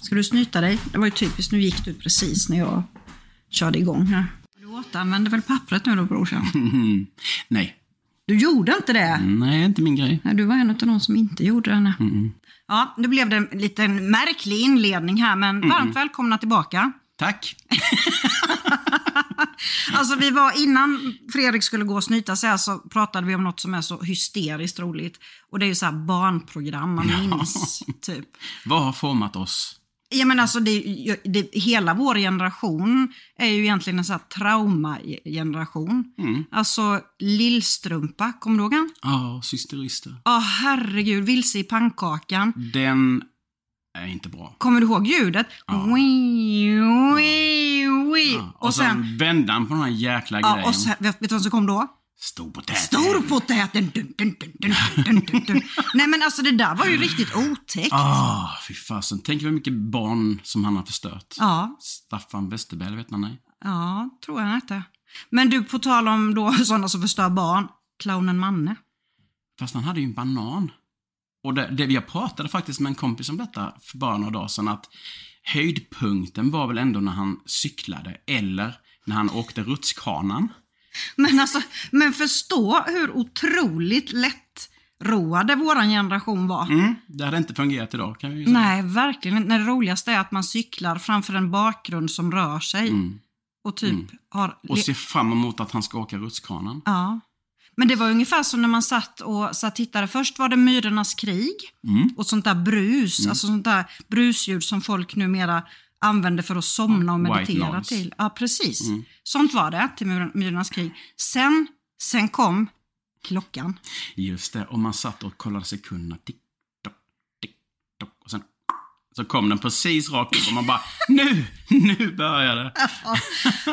Ska du snyta dig? Det var ju typiskt, nu gick du precis när jag körde igång här. Du återanvänder väl pappret nu då brorsan? Nej. Du gjorde inte det? Nej, inte min grej. Nej, du var en av de som inte gjorde det. nej. Ja, nu blev det en liten märklig inledning här, men varmt välkomna tillbaka. Tack. Alltså vi var, innan Fredrik skulle gå och snyta sig här så pratade vi om något som är så hysteriskt roligt. Och det är ju så här barnprogram man minns, typ. Vad har format oss? Ja, men alltså det, det, hela vår generation är ju egentligen en sån här traumageneration. Mm. Alltså Lillstrumpa, kommer du ihåg han? Ja, Systerister. Ja, herregud, Vilse i pannkakan. Den är inte bra. Kommer du ihåg ljudet? Wii, wii, wii. Ja, Och sen, vände han på den här jäkla ja, grejen. och sen, vet vet du vad som kom då? Storpotäten. Storpotäten! Dun, dun, dun, dun, dun, dun, dun. Nej men alltså det där var ju riktigt otäckt. Ah, fy fasen. Tänk vad mycket barn som han har förstört. Ja, Staffan Westerberg, vet man nej. ja, tror jag inte. Men du, på tal om då sådana som förstör barn, clownen Manne. Fast han hade ju en banan. Och det, det, jag pratade faktiskt med en kompis om detta för bara några dagar sedan, att höjdpunkten var väl ändå när han cyklade, eller när han åkte rutschkanan. Men, alltså, men förstå hur otroligt lätt roade våran generation var. Mm, det hade inte fungerat idag kan vi ju säga. Nej, verkligen inte. Det roligaste är att man cyklar framför en bakgrund som rör sig. Och typ har... Mm. Och ser fram emot att han ska åka rutschkanan. Ja. Men det var ungefär som när man satt och satt och tittade. Först var det Myrornas krig Mm. och sånt där brus, alltså sånt där brusljud som folk numera använder för att somna och White meditera noise. Mm. till. Ja, precis. Sånt var det till Myr- Myrornas krig. Sen, sen kom klockan. Just det, och man satt och kollade sekunderna. Tick, tock, tick, tock. Och sen så kom den precis rakt upp och man bara nu, nu börjar det.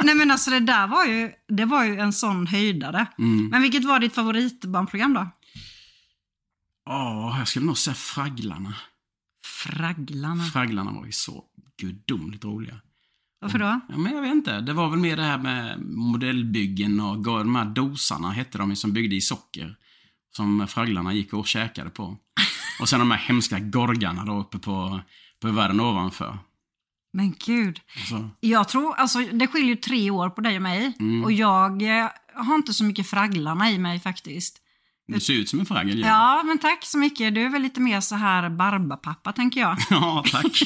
Nej men alltså det där var ju, det var ju en sån höjdare. Mm. Men vilket var ditt favoritbarnprogram då? Ja, jag skulle nog säga Fragglarna. Fragglarna. Fragglarna var ju så gudomligt roliga. Varför då? Ja, men jag vet inte. Det var väl mer det här med modellbyggen och gå- de här dosarna hette de ju som byggde i socker. Som fragglarna gick och käkade på. Och sen de här hemska gorgarna då uppe på, på världen ovanför. Men gud. Alltså, Mm. Jag tror, alltså det skiljer ju tre år på dig och mig. Och jag eh, har inte så mycket fragglarna i mig faktiskt. du ser ut som en fraggel ju. Ja, men tack så mycket. Du är väl lite mer så här barbapappa tänker jag. Ja, tack.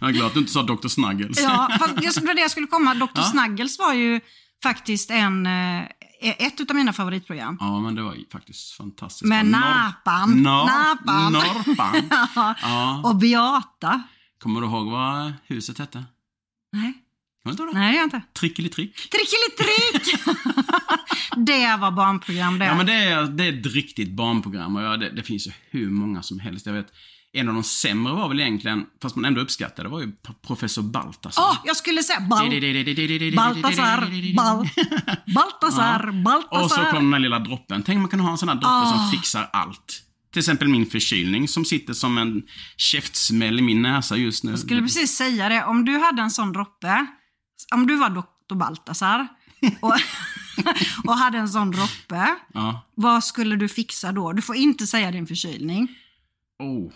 jag är glad att du inte sa Dr. Snuggles. Ja, fast det var det jag skulle komma. Dr. Snuggles var ju faktiskt en, eh, ett utav mina favoritprogram. Ja, men det var ju faktiskt fantastiskt. Med Och Nor- Napan. Nor- Napan. Norpan. Ja. Och Beata. Kommer du ihåg vad huset hette? Nej, Kommer du inte ihåg det? nej det gör jag inte. Trickelitrick. Trickelitrick! det var barnprogram det. Ja, men det är, det är ett riktigt barnprogram och ja, det, det finns ju hur många som helst. Jag vet, En av de sämre var väl egentligen, fast man ändå uppskattade, var ju p- professor Baltasar. Åh, jag skulle säga Bal- Baltasar, Bal- Baltasar, Och så kom Baltasar. den här lilla droppen. Tänk om man kunde ha en sån här droppe som fixar allt. Till exempel min förkylning som sitter som en käftsmäll i min näsa just nu. Jag skulle precis säga det, om du hade en sån droppe, om du var doktor Baltasar och, och hade en sån droppe, Ja. vad skulle du fixa då? Du får inte säga din förkylning. Oh.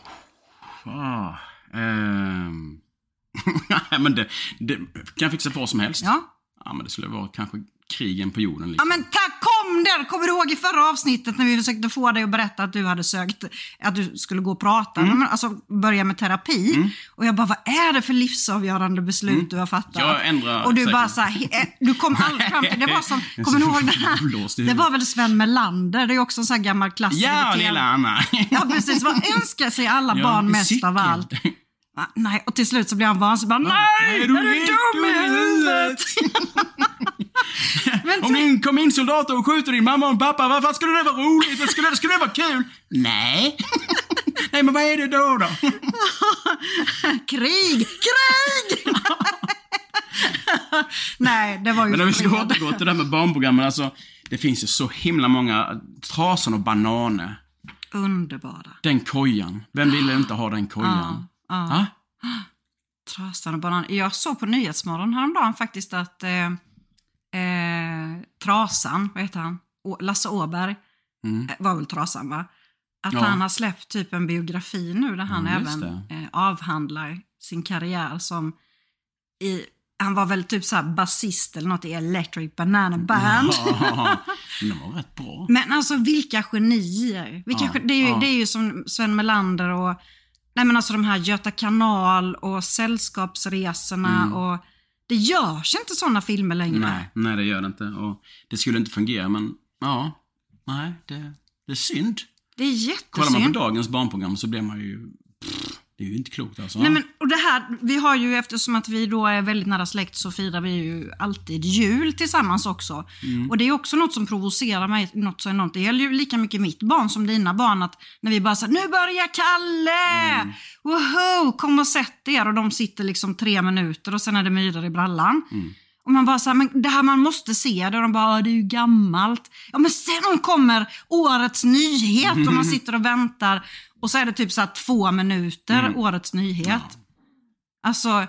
Ah. Ehm. Nej, men det, det kan fixa vad som helst. Ja. Ja, men det skulle vara kanske krigen på jorden. Ja Liksom. men tack, kom där! Kommer du ihåg i förra avsnittet när vi försökte få dig att berätta att du hade sökt, att du skulle gå och prata, Mm. men alltså börja med terapi. Och jag bara, vad är det för livsavgörande beslut du har fattat? Mm. Jag ändrar Och du säkert. bara så här, he- eh, du kom aldrig fram till, det var som, Jag är kommer du så ihåg det blåst i här? Det huvudet. var väl Sven Melander, det är ju också en sån här gammal klassiker. Ja, till- lilla Anna! Ja precis, vad önskar sig alla Ja, barn mest cykel. av allt? Va? Nej, och till slut så blir han vansinnig. Bara, Nej, Nej, är du du är helt dum dum i i huvudet? Men Om det kom in soldater och skjuter din mamma och pappa, varför skulle det vara roligt? Det skulle, skulle det vara kul? Nej. Nej, men vad är det då? då? Krig! Krig! Nej, det var ju Men om vi ska fred. återgå till det här med barnprogrammen, alltså. Det finns ju så himla många. Trasan och Bananer. Underbara. Den kojan. Vem ville inte ha den kojan? Va? Trasan och banan. Jag såg på Nyhetsmorgon häromdagen faktiskt att eh, eh, Trasan, vad heter han? Å- Lasse Åberg eh, var väl Trasan va? Att Mm. Ja. han har släppt typ en biografi nu där han Ja, just även eh, avhandlar sin karriär som i, han var väl typ så här basist eller något i Electric Banana Band. Ja, den var rätt bra. Men alltså vilka genier! Vilka, Ja, gen- det, är ju, ja. det är ju som Sven Melander och nej men alltså de här Göta kanal och Sällskapsresorna och det görs inte sådana filmer längre. Mm. Nej, nej det gör det inte. Och det skulle inte fungera, men ja. Nej, det, det är synd. Det är Kollar man jättesynd. på dagens barnprogram så blir man ju... Pff, det är ju inte klokt alltså. Nej, men, och det här, vi har ju, eftersom att vi då är väldigt nära släkt så firar vi ju alltid jul tillsammans också. Och det är också något som provocerar mig något så enormt. Det gäller ju lika mycket mitt barn som dina barn. Att när vi bara säger nu börjar Kalle! Woho! Kom och sätt er! Och de sitter liksom tre minuter och sen är det myror i brallan. Och man bara så här, men det här man måste se det och de bara, "Ah, det är ju gammalt. Ja men sen kommer årets nyhet och man sitter och väntar och så är det typ så här två minuter, Mm. årets nyhet. Alltså,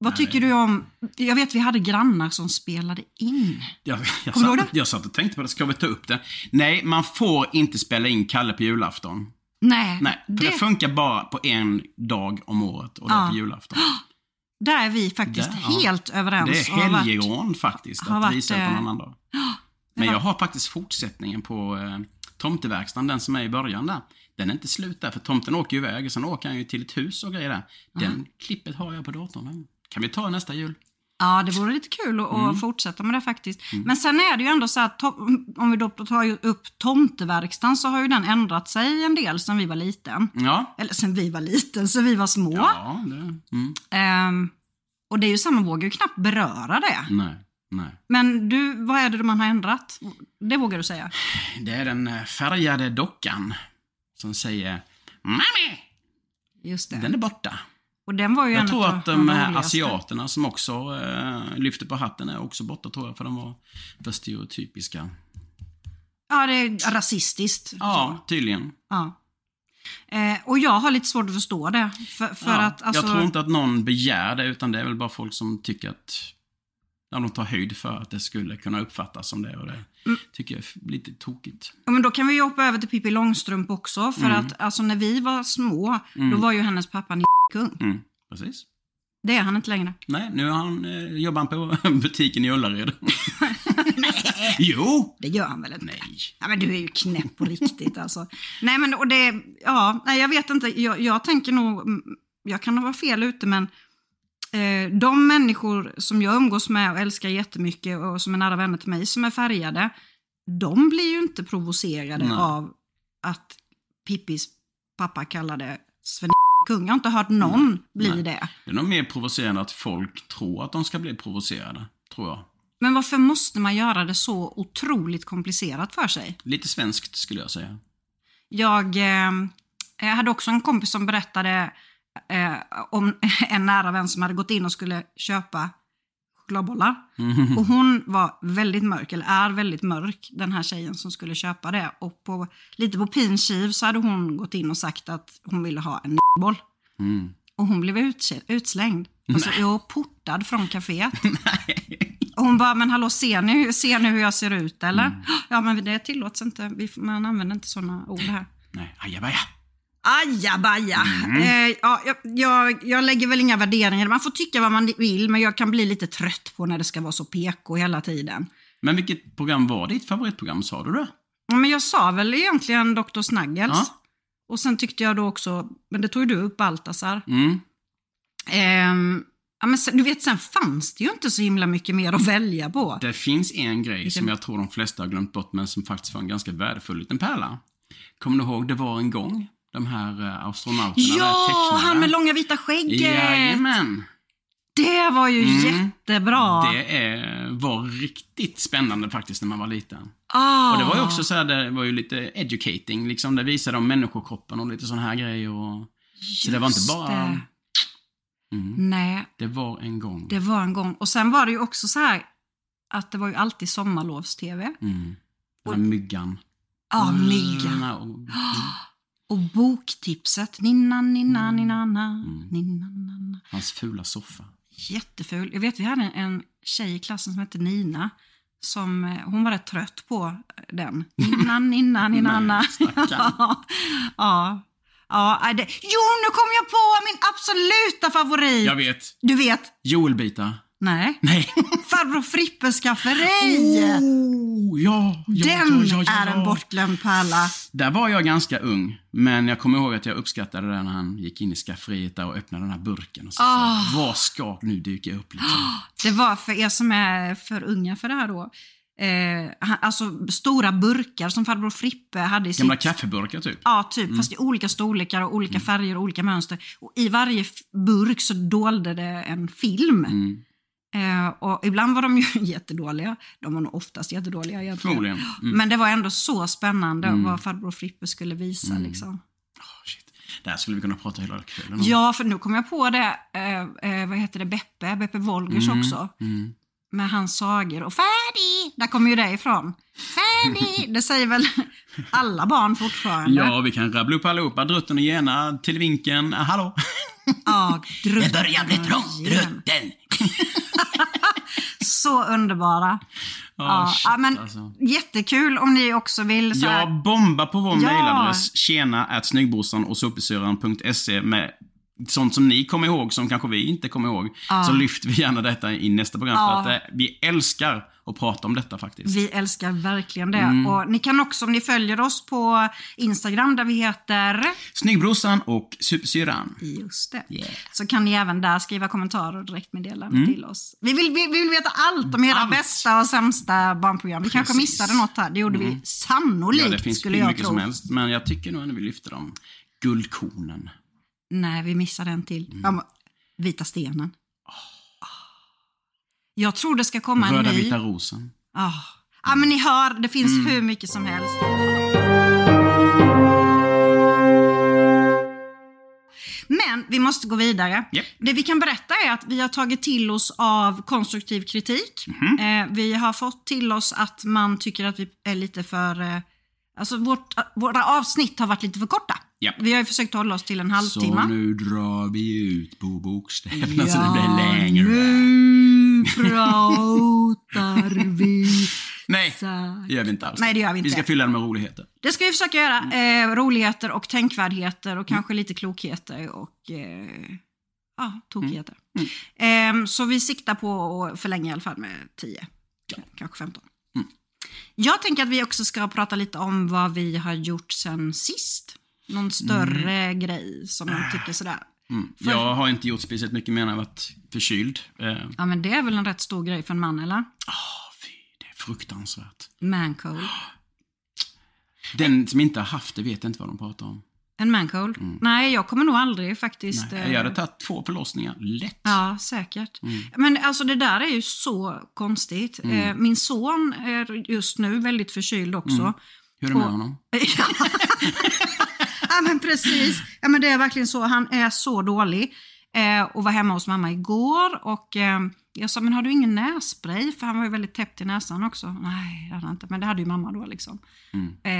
vad tycker du om, jag vet vi hade grannar som spelade in. Jag, jag, Kommer du ihåg satt, jag satt och tänkte på det, ska vi ta upp det? Nej, man får inte spela in Kalle på julafton. Nej, Nej, för det, det, funkar bara på en dag om året och det är på julafton. där är vi faktiskt Där, ja. helt överens. Det är och har varit- helgerån faktiskt, har att varit, visa det på någon eh, annan dag. Men jag har faktiskt fortsättningen på eh, tomteverkstan, den som är i början där. Den är inte slut där, för tomten åker ju iväg och sen åker han ju till ett hus och grejer där. Den klippet har jag på datorn. Den kan vi ta nästa jul. Ja, det vore lite kul att, Mm. att fortsätta med det faktiskt. Men sen är det ju ändå så att to- om vi då tar ju upp tomteverkstan så har ju den ändrat sig en del sen vi var liten. Ja. Eller sen vi var liten, sen vi var små. Ja, det... Mm. Ehm, och det är ju så här, man vågar ju knappt beröra det. Nej, nej. Men du, vad är det man har ändrat? Det vågar du säga. Det är den eh, färgade dockan som säger Mami! Just det. Den är borta. och den var ju en Jag tror utav att de här roligaste. asiaterna som också eh, lyfter på hatten är också borta tror jag, för de var för stereotypiska. Ja, det är rasistiskt. Ja, tydligen. Ja. Eh, och jag har lite svårt att förstå det. För, för ja. att, alltså, Jag tror inte att någon begär det, utan det är väl bara folk som tycker att... Ja, de tar höjd för att det skulle kunna uppfattas som det och det Mm. tycker jag är f- lite tokigt. Ja, men då kan vi ju hoppa över till Pippi Långstrump också. För att alltså, när vi var små, då var ju hennes pappa en kung. Mm, precis. Det är han inte längre. Nej, nu har han, eh, jobbar han på butiken i Ullared. Nej! Jo! Det gör han väl inte? Nej. Ja, men du är ju knäpp på riktigt alltså. Nej, men och det, ja, nej, jag vet inte. Jag, jag tänker nog, mm, jag kan nog vara fel ute, men eh, de människor som jag umgås med och älskar jättemycket och som är nära vänner till mig, som är färgade, de blir ju inte provocerade Nej. av att Pippis pappa kallade Sven kung. Jag har inte hört någon bli Nej. det. Det är nog mer provocerande att folk tror att de ska bli provocerade, tror jag. Men varför måste man göra det så otroligt komplicerat för sig? Lite svenskt skulle jag säga. Jag eh, Jag hade också en kompis som berättade eh, om en nära vän som hade gått in och skulle köpa chokladbollar. Och hon var väldigt mörk, eller är väldigt mörk, den här tjejen som skulle köpa det. Och på, lite på pin kiv så hade hon gått in och sagt att hon ville ha en boll. Och hon blev utse- utslängd. Alltså, och portad från kaféet. Och hon bara, men hallå ser ni, ser ni hur jag ser ut eller? Ja men det tillåts inte, Vi får- man använder inte sådana ord här. Nej, ajabaja. Ajabaja! Mm. Eh, ja, jag, jag, jag lägger väl inga värderingar. Man får tycka vad man vill, men jag kan bli lite trött på när det ska vara så PK hela tiden. Men vilket program var ditt favoritprogram, sa du det? Ja, Men jag sa väl egentligen Dr. Snuggles. Ja. Och sen tyckte jag då också, men det tog ju du upp, Baltasar. Mm. Ehm, ja, men sen, du vet, sen fanns det ju inte så himla mycket mer att välja på. Det finns en grej som jag tror de flesta har glömt bort, men som faktiskt var en ganska värdefull liten pärla. Kommer du ihåg, det var en gång, de här eh, astronauterna, de här Ja, tecknarna. han med långa vita skägget! Jajamän! Det var ju Mm. jättebra! Det är, var riktigt spännande faktiskt när man var liten. Ah. Och det var ju också så här, det var ju lite educating, liksom. Det visade om människokroppen och lite sådana här grejer. Och... Så det var inte Just bara... det. Mm. Nej, Det var en gång. det var en gång. Och sen var det ju också så här att det var ju alltid sommarlovstv. Mm. Den här myggan. Ja, myggan. Och... Och boktipset. Ninna, ninna, ninna, na, Mm. ninna, na, na. Hans fula soffa. Jätteful. Jag vet, vi hade en, en tjej i klassen som hette Nina. Som, eh, hon var rätt trött på eh, den. Ninna, ninna, ninna, na. Nej, stackarn. ja. Ja, nej, det... Jo, nu kom jag på min absoluta favorit! Jag vet. Du vet? Joelbitar. Nej. Nej. Farbror Frippes skafferi! Oh, ja, ja, Den ja, ja, ja. är en bortglömd pärla. Där var jag ganska ung, men jag kommer ihåg att jag uppskattade det när han gick in i skafferiet där och öppnade den här burken. Och så, så, Ah. vad ska nu dyka upp? Liksom? Det var för er som är för unga för det här då. Eh, han, alltså stora burkar som farbror Frippe hade i Gamla Mm. sitt... kaffeburkar typ. Ja, typ. Fast i olika storlekar och olika färger och olika mönster. Och I varje f- burk så dolde det en film. Mm. Eh, och ibland var de ju jättedåliga. De var nog oftast jättedåliga egentligen. Förmodligen. Mm. Men det var ändå så spännande vad farbror Frippe skulle visa. Mm. Liksom. Oh, shit. Det här skulle vi kunna prata hela kvällen om. Ja, för nu kom jag på det, eh, eh, vad heter det, Beppe, Beppe Wolgers också. Mm. Med hans sagor och färdig, där kommer ju det ifrån. Färdig, det säger väl alla barn fortfarande? Ja, vi kan rabbla upp allihopa. Drutten och Gena, Tillvinken, ah, hallå! ja drutten Det börjar bli trångt, igen. Drutten! Så underbara. Ja, Ja, shit, ja, men alltså. Jättekul om ni också vill så här, Ja, bomba på vår Ja. mejladress tjena at snyggbrorsan och suppesyran.se E med sånt som ni kommer ihåg som kanske vi inte kommer ihåg. Så lyfter vi gärna detta i nästa program. För Ja. att det, vi älskar att prata om detta faktiskt. Vi älskar verkligen det. Mm. Och ni kan också, om ni följer oss på Instagram där vi heter... Snyggbrorsan och supersyran. Just det. Yeah. Så kan ni även där skriva kommentarer och direktmeddelanden till oss. Vi vill, vi, vi vill veta allt om era Mm. Allt. bästa och sämsta barnprogram. Vi kanske Precis. Mm. missade något här. Det gjorde vi sannolikt, Ja, det finns skulle hur jag mycket tro. som helst, men jag tycker nog ändå vi lyfter dem. Guldkornen. Nej, vi missade en till. Mm. Ja, men, vita stenen. Ah. Jag tror det ska komma en Röda ny. vita rosen. Ja, ah, men ni hör, det finns Mm. hur mycket som helst. Men vi måste gå vidare. Japp. Det vi kan berätta är att vi har tagit till oss av konstruktiv kritik. Mhm. Eh, vi har fått till oss att man tycker att vi är lite för... Eh, alltså vårt, våra avsnitt har varit lite för korta. Japp. Vi har ju försökt hålla oss till en Så halvtimme. nu drar vi ut på bokstäverna så det blir längre. nu Mm, pratar vi. Nej, Exakt. det gör vi inte alls. Nej, det gör vi inte. Vi ska fylla den med roligheter. Det ska vi försöka göra. Mm. Eh, roligheter och tänkvärdheter och kanske lite klokheter och eh, ja, tokigheter. Mm. Ehm, så vi siktar på att förlänga i alla fall med 10, kanske 15. Mm. Jag tänker att vi också ska prata lite om vad vi har gjort sen sist. Någon större grej som jag tycker sådär. Mm. Jag har inte gjort speciellt mycket mer än varit förkyld. Eh, Ja men det är väl en rätt stor grej för en man eller? ah, fy, det är fruktansvärt. Mancold. Den som inte har haft det vet inte vad de pratar om. En mancold? Nej, jag kommer nog aldrig faktiskt... Mm. Nej, eh, jag hade tagit två förlossningar, lätt. Ja, säkert. Men alltså det där är ju så konstigt. Eh, Min son är just nu väldigt förkyld också. Hur är det med honom? Ja men precis. Ja, men det är verkligen så. Han är så dålig. Eh, och var hemma hos mamma igår och eh, jag sa, men har du ingen nässpray? För han var ju väldigt täppt i näsan också. Nej, det hade han inte. Men det hade ju mamma då liksom. Eh,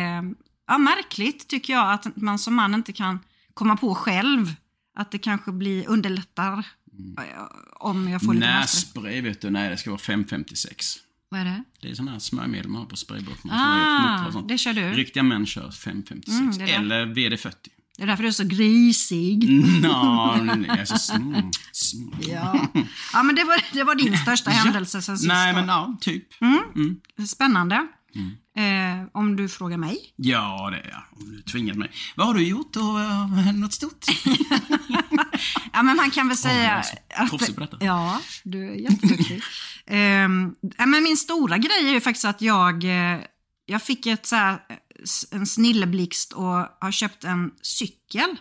ja, märkligt tycker jag att man som man inte kan komma på själv. Att det kanske blir underlättar eh, om jag får lite nässpray. Nässpray, vet du. Nej, det ska vara 556. Vad är det? Det är sådana här smörjmedel man har på sprayburk. Man Ah, smörjer upp mot och sånt. det kör du. Riktiga män kör 556. Mm, det där. eller VD40. Det är därför du är så grisig. Nå, nej, alltså, sn- sn- Ja. ja, men det var, det var din största händelse sen sist. Nej, då. men ja, typ. Mm. Spännande. Eh, om du frågar mig. Ja, det är jag. Om du tvingade mig. Vad har du gjort? Och, eh, något stort? alltså, Ja, alltså, men man kan väl jag säga... är så proffsig på detta. Ja, du är jätteduktig. Ehm, ja, men min stora grej är ju faktiskt att jag, eh, jag fick ett, så här, s- en snilleblixt och har köpt en cykel.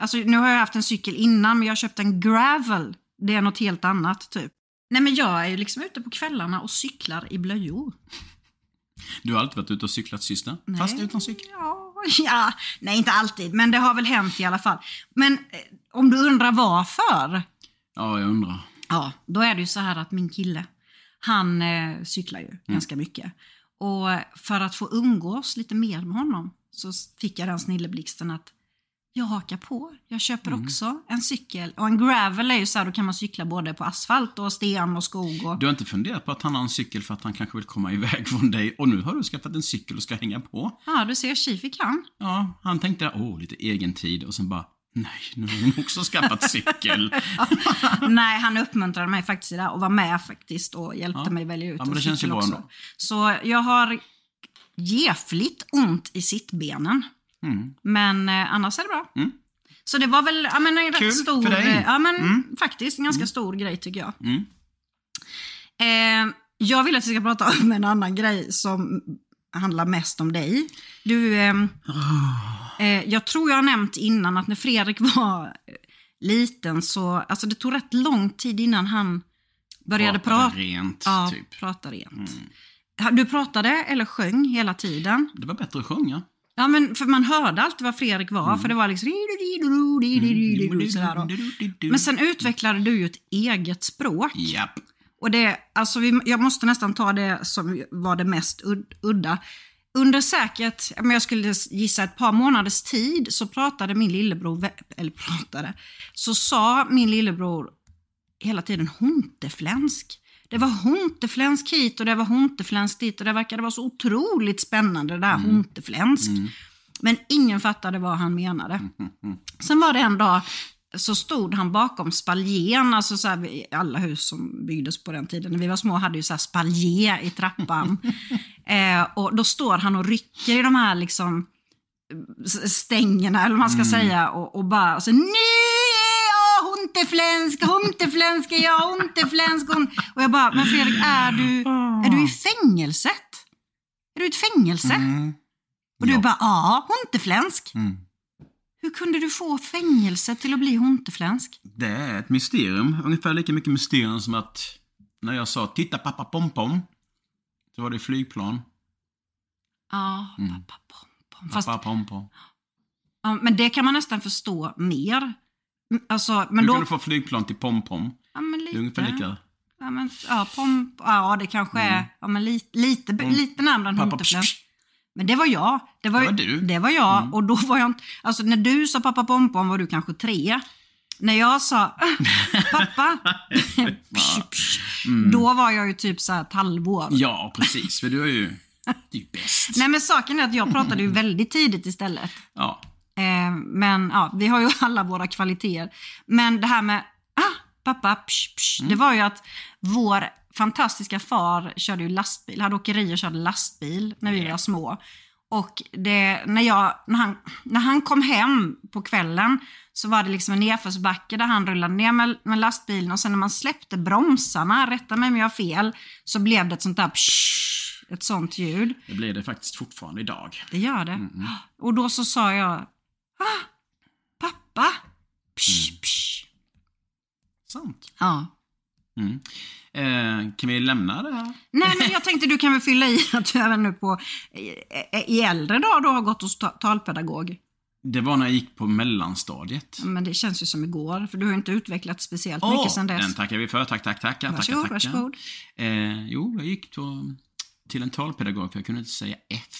Alltså, nu har jag haft en cykel innan, men jag har köpt en gravel. Det är något helt annat, typ. Nej, men jag är ju liksom ute på kvällarna och cyklar i blöjor. Du har alltid varit ute och cyklat sista, fast utan cykel. Ja, ja, nej inte alltid, men det har väl hänt i alla fall. Men eh, om du undrar varför? Ja, jag undrar. Ja, då är det ju så här att min kille, han eh, cyklar ju ganska mycket. Och för att få umgås lite mer med honom så s- fick jag den snilleblixten att jag hakar på. Jag köper också en cykel. Och en gravel är ju så här, då kan man cykla både på asfalt och sten och skog. Och... Du har inte funderat på att han har en cykel för att han kanske vill komma iväg från dig och nu har du skaffat en cykel och ska hänga på. Ja, du ser, tji fick han. Ja, han tänkte, åh, lite egen tid och sen bara, nej, nu har hon också skaffat cykel. Nej, han uppmuntrade mig faktiskt i det här och var med faktiskt och hjälpte Ja. mig välja ut Ja, men en det känns ju cykel bra också. ändå. Så jag har gefligt ont i sittbenen. Mm. Men eh, annars är det bra. Så det var väl ja, men en Kul rätt stor... för dig. eh, Ja, men faktiskt en ganska stor grej tycker jag. Mm. Eh, jag vill att vi ska prata om en annan grej som handlar mest om dig. Du, ehm, eh, jag tror jag har nämnt innan att när Fredrik var eh, liten så, alltså det tog rätt lång tid innan han började Pratade prata. rent, Ja, typ. prata rent. Du pratade eller sjöng hela tiden. Det var bättre att sjunga. Ja, men för man hörde alltid vad Fredrik var, Mm. för det var liksom... sådär då. Men sen utvecklade du ju ett eget språk. Japp. Och det, alltså vi, jag måste nästan ta det som var det mest ud- udda. Under säkert, ja, men jag skulle gissa ett par månaders tid, så pratade min lillebror, vä- eller pratade, så sa min lillebror hela tiden honteflänsk. Det var honteflänsk hit och det var honteflänsk dit och det verkade vara så otroligt spännande det där honteflänsk. Men ingen fattade vad han menade. Sen var det en dag så stod han bakom spaljen, alltså så här, vi- alla hus som byggdes på den tiden när vi var små hade ju så här spalje i trappan. eh, och då står han och rycker i de här liksom s- stängerna, eller vad man ska säga, och, och bara så nej! jag Honteflänsk, honteflänsk, är jag honteflänsk. hon-" Och jag bara, men Fredrik, är du, är du i fängelset? Är du i ett fängelse? Och du bara, ja, honteflänsk. Hur kunde du få fängelse till att bli honteflänsk? Det är ett mysterium. Ungefär lika mycket mysterium som att när jag sa “Titta pappa pompom” så var det flygplan. Ja, Mm. pappa pompom. Fast, Pappa pompom. ja, men det kan man nästan förstå mer. Mm, Alltså, men Hur då... kan du få flygplan till pompom? ja, Mm, men Det lite. är ungefär lika. Mm. Ja, men, ja, pomp, ja, det kanske är ja, men li, lite, lite närmare än Pappa, honteflänsk. Men det var jag. Det var, Det ju- var du. Mm. Det var jag. Och då var jag inte... Alltså när du sa pappa pompom var du kanske tre. När jag sa "Äh, pappa, psh, psh, då var jag ju typ så här ett halvår. Mm. Ja, precis. För du är ju... Det är ju bäst. Nej men saken är att jag pratade ju väldigt tidigt istället. Ja. Eh, men ja, vi har ju alla våra kvaliteter. Men det här med ah, pappa, psh, psh, det var ju att vår fantastiska far körde ju lastbil, hade åkeri och körde lastbil när vi var små. Och det, när, jag, när, han, när han kom hem på kvällen så var det liksom en nedförsbacke där han rullade ner med, med lastbilen och sen när man släppte bromsarna, rätta mig om jag har fel, så blev det ett sånt där psh, ett sånt ljud. Det blir det faktiskt fortfarande idag. Det gör det. Mm, Och då så sa jag, ah, pappa. Psh, Mm. psh. Sant. Ja. Mm. Eh, kan vi lämna det här? Nej, men jag tänkte du kan väl eh, fylla i att du även nu på, i, i äldre dag då har gått hos ta- talpedagog. Det var när jag gick på mellanstadiet. Men det känns ju som igår, för du har ju inte utvecklats speciellt mycket sen dess. Den tackar vi för. Tack, tack, tack. tack, Varsågod, tack, tack. varsågod. Eh, jo, jag gick då till en talpedagog för jag kunde inte säga F.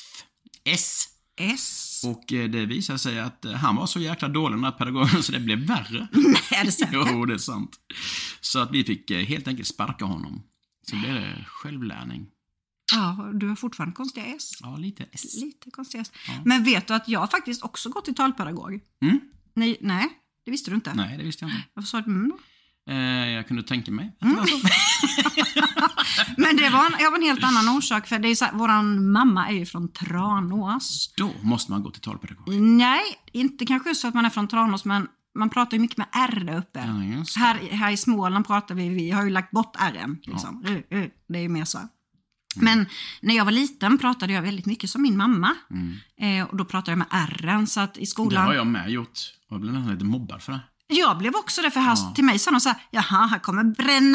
S. S. Och eh, det visade sig att eh, han var så jäkla dålig den här pedagogen så det blev värre. Är det sant? jo, det är sant. Så att vi fick eh, helt enkelt sparka honom. Så blev det självlärning. Ja, du har fortfarande konstiga S. Ja, lite S. Lite konstiga S. Men vet du att jag faktiskt också gått till talpedagog? Mm. Nej, nej det visste du inte. Nej, det visste jag inte. Varför sa du mm då? Eh, jag kunde tänka mig att det Mm. var så. Men det var en, jag var en helt annan orsak, för det är så här, våran mamma är ju från Tranås. Då måste man gå till talpedagog. Nej, inte kanske just för att man är från Tranås, men man pratar ju mycket med R där uppe. Ja, just det. här, här i Småland pratar vi, vi har ju lagt bort R'n. Liksom. Uh, uh, Det är ju mer så. Men när jag var liten pratade jag väldigt mycket som min mamma. Eh, och då pratade jag med R'n, så att i Mm. Det har skolan... Jag... jag med gjort. Jag blev nästan lite mobbad för det. blev också det, för här, till mig sa någon så här, jaha, här kommer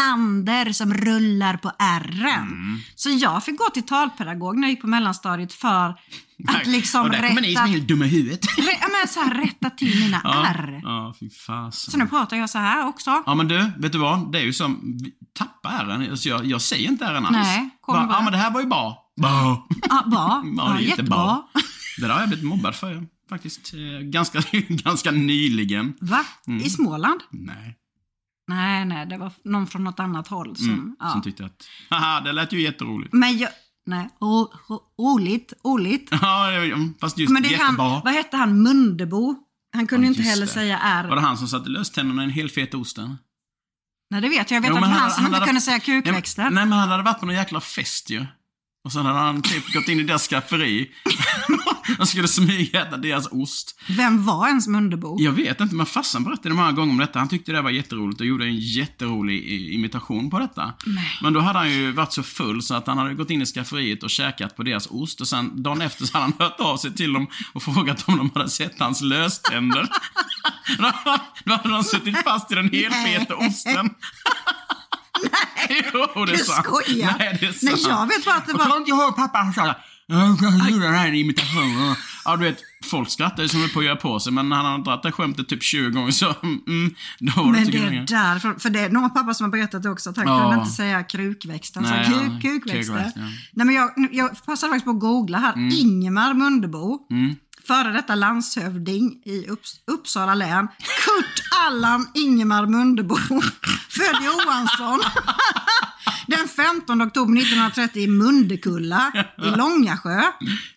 Brennander som rullar på R'n. Mm. Så jag fick gå till talpedagog när jag gick på mellanstadiet för att liksom och där kommer ni som är rätta, helt dumma i huvudet. re, ja, men så här, rätta till mina R. Ja, fy Så fasen. nu pratar jag så här också. Ja men du, vet du vad? Det är ju som, vi- tappa ärren. Alltså jag, jag säger inte ärren alls. Nej, kommer bara, bara- Ja men det här var ju bra. Bra. Ja, bra. Ja, det är jättebra. Det där har jag blivit mobbad för faktiskt. eh, Ganska, ganska nyligen. Va? Mm. I Småland? Nej. Nej, nej, det var någon från något annat håll som... ja. Mm, Som tyckte att, haha det lät ju jätteroligt. Men jag... Nej, ro, ro, roligt, roligt. Ja, det- mm, fast just Men det är han, jättebra. vad hette han, Mundebo? Han kunde Ja, inte just heller det. säga Var R. det han som satte lös tänderna i en hel fet osten? Nej, det vet jag. Jag vet Jo, att men det var han som inte hade- kunde säga Nej, kukväxten. men- Nej, men han hade varit på någon jäkla fest ju. Och sen hade han typ gått in i deras skafferi. och skulle smygäta deras ost. Vem var ens Mundebo? Jag vet inte, men farsan berättade många gånger om detta. Han tyckte det var jätteroligt och gjorde en jätterolig i- imitation på detta. Men då hade han ju varit så full så att han hade gått in i skafferiet och käkat på deras ost och sen dagen efter så hade han hört av sig till dem och frågat om de hade sett hans löständer. då hade de suttit fast i den helfeta osten. jo, det är Du sant. skojar. Nej, det är Nej, sant. jag vet bara att det Och var- kommer inte ihåg pappa, han sa "Ja, jag gjorde den här imitationen. Ja, du vet, folk skrattade som höll på att göra på sig, men när han hade dragit det skämtet typ 20 gånger så, mm, då var det Men inte det kul längre. är därför, för det är någon pappa som har berättat det också, att han Ja. kunde inte säga krukväxten. Nej, så ja, kuk, kukväxter. krukväxt, ja. Mm. Nej, men jag, jag passade faktiskt på att googla här. Ingemar Mundebo, före detta landshövding i Upps- Uppsala län. Kurt Allan Ingemar Mundebo, född Johansson. Den 15 oktober 1930 i Mundekulla i Långasjö.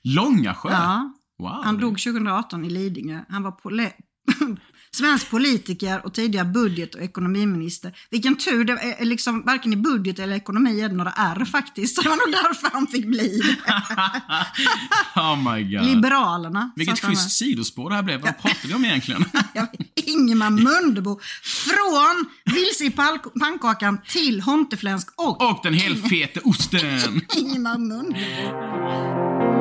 Långasjö? Ja. Wow. Han dog 2018 i Lidingö. Han var pole- svensk politiker och tidigare budget och ekonomiminister. Vilken tur, det är är liksom, varken i budget eller ekonomi är det några R faktiskt. Så det var nog därför han fick bli oh my god. Liberalerna. Vilket satt han schysst sidospår det här blev. Vad pratade vi om egentligen? med. Ingemar Mundebo. Från vilse i palk- pannkakan till Hontefläsk och Och den helfete osten. Ingemar Mundebo.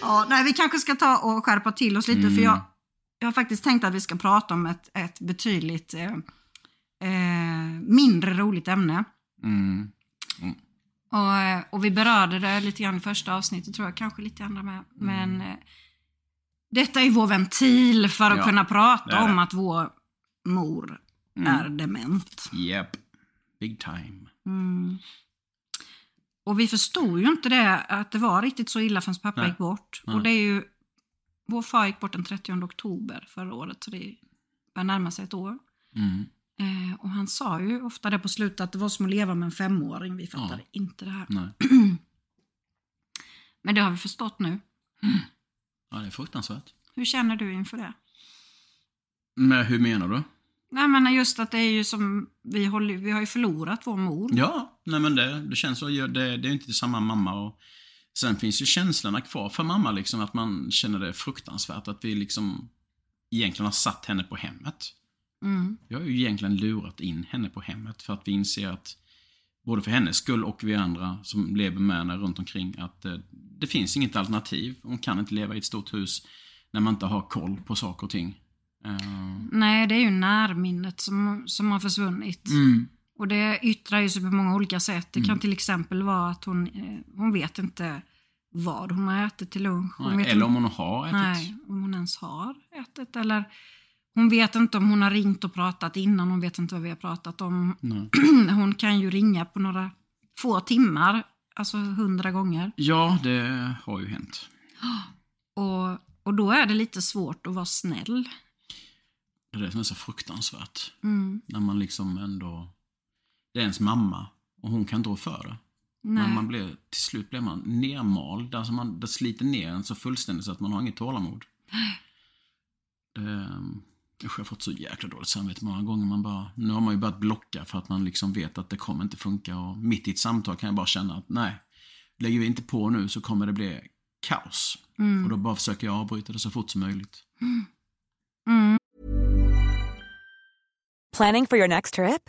Ja, nej, vi kanske ska ta och skärpa till oss lite, för Mm. jag, jag har faktiskt tänkt att vi ska prata om ett, ett betydligt eh, eh, mindre roligt ämne. Mm. Och, eh, och vi berörde det lite grann i första avsnittet, tror jag, kanske lite i andra Mm. med. Men eh, detta är vår ventil för att Ja, kunna det prata är det. Mm. om att vår mor är dement. Yep. Big time. Och vi förstod ju inte det, att det var riktigt så illa förrän pappa Nej. gick bort. Nej. Och det är ju, vår far gick bort den 30 oktober förra året, så det börjar närma sig ett år. Mm. Eh, och han sa ju ofta det på slutet, att det var som att leva med en femåring. Vi fattade inte det här. Nej. Men det har vi förstått nu. Ja, det är fruktansvärt. Hur känner du inför det? Men hur menar du? Nej men just att det är ju som, vi, håller, vi har ju förlorat vår mor. Ja, nej men det, det känns så. Det, det är ju inte samma mamma. Och sen finns ju känslorna kvar för mamma, liksom att man känner det fruktansvärt. Att vi liksom egentligen har satt henne på hemmet. Mm. Vi har ju egentligen lurat in henne på hemmet för att vi inser att både för hennes skull och vi andra som lever med henne runt omkring att eh, det finns inget alternativ. Hon kan inte leva i ett stort hus när man inte har koll på saker och ting. Eh, Nej, det är ju närminnet som, som har försvunnit. Mm. Och det yttrar ju sig på många olika sätt. Det kan till exempel vara att hon, eh, hon vet inte vad hon har ätit till lunch. Hon Nej, vet eller inte- om hon har ätit. Nej, om hon ens har ätit eller hon vet inte om hon har ringt och pratat innan, hon vet inte vad vi har pratat om. Nej. Hon kan ju ringa på några få timmar, alltså hundra gånger. Ja, det har ju hänt. Och, och då är det lite svårt att vara snäll. Det är det som är så fruktansvärt. Mm, När man liksom ändå... Det är ens mamma och hon kan inte rå för det. nej. Men man blir, till slut blir man nermald. Alltså man, det sliter ner en så fullständigt så att man har inget tålamod. Det, usch, jag har fått så jäkla dåligt samvete många gånger. Man bara, nu har man ju börjat blocka för att man liksom vet att det kommer inte funka. Och mitt i ett samtal kan jag bara känna att nej, lägger vi inte på nu så kommer det bli kaos. Och då bara försöker jag avbryta det så fort som möjligt. Mm. Planning for your next trip?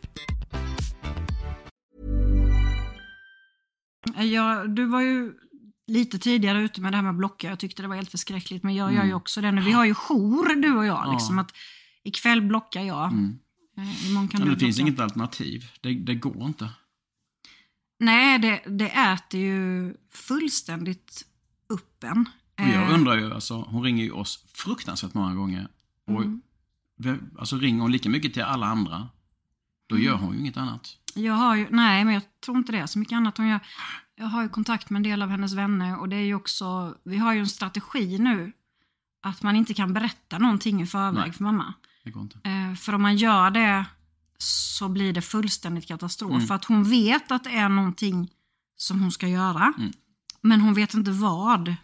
Jag, Eh, du var ju lite tidigare ute med det här med blocka. Jag tyckte det var helt förskräckligt, men jag gör Mm. ju också det nu. Vi har ju jour, du och jag. Liksom, att ikväll blockar jag. Eh, Imorgon kan Men du Mm. det finns blocka. inget alternativ. Det, det går inte. Nej, det, det äter ju fullständigt upp en. Och jag Eh, undrar ju, alltså, hon ringer ju oss fruktansvärt många gånger. Och, Mm. vi- Alltså ringer hon lika mycket till alla andra, då Mm. gör hon ju inget annat. Jag har ju, nej men jag tror inte det är så mycket annat hon gör. Jag har ju kontakt med en del av hennes vänner och det är ju också, vi har ju en strategi nu att man inte kan berätta någonting i förväg Nej. för mamma. Det går inte. Eh, för om man gör det så blir det fullständigt katastrof. Mm. För att hon vet att det är någonting som hon ska göra. Mm. Men hon vet inte vad.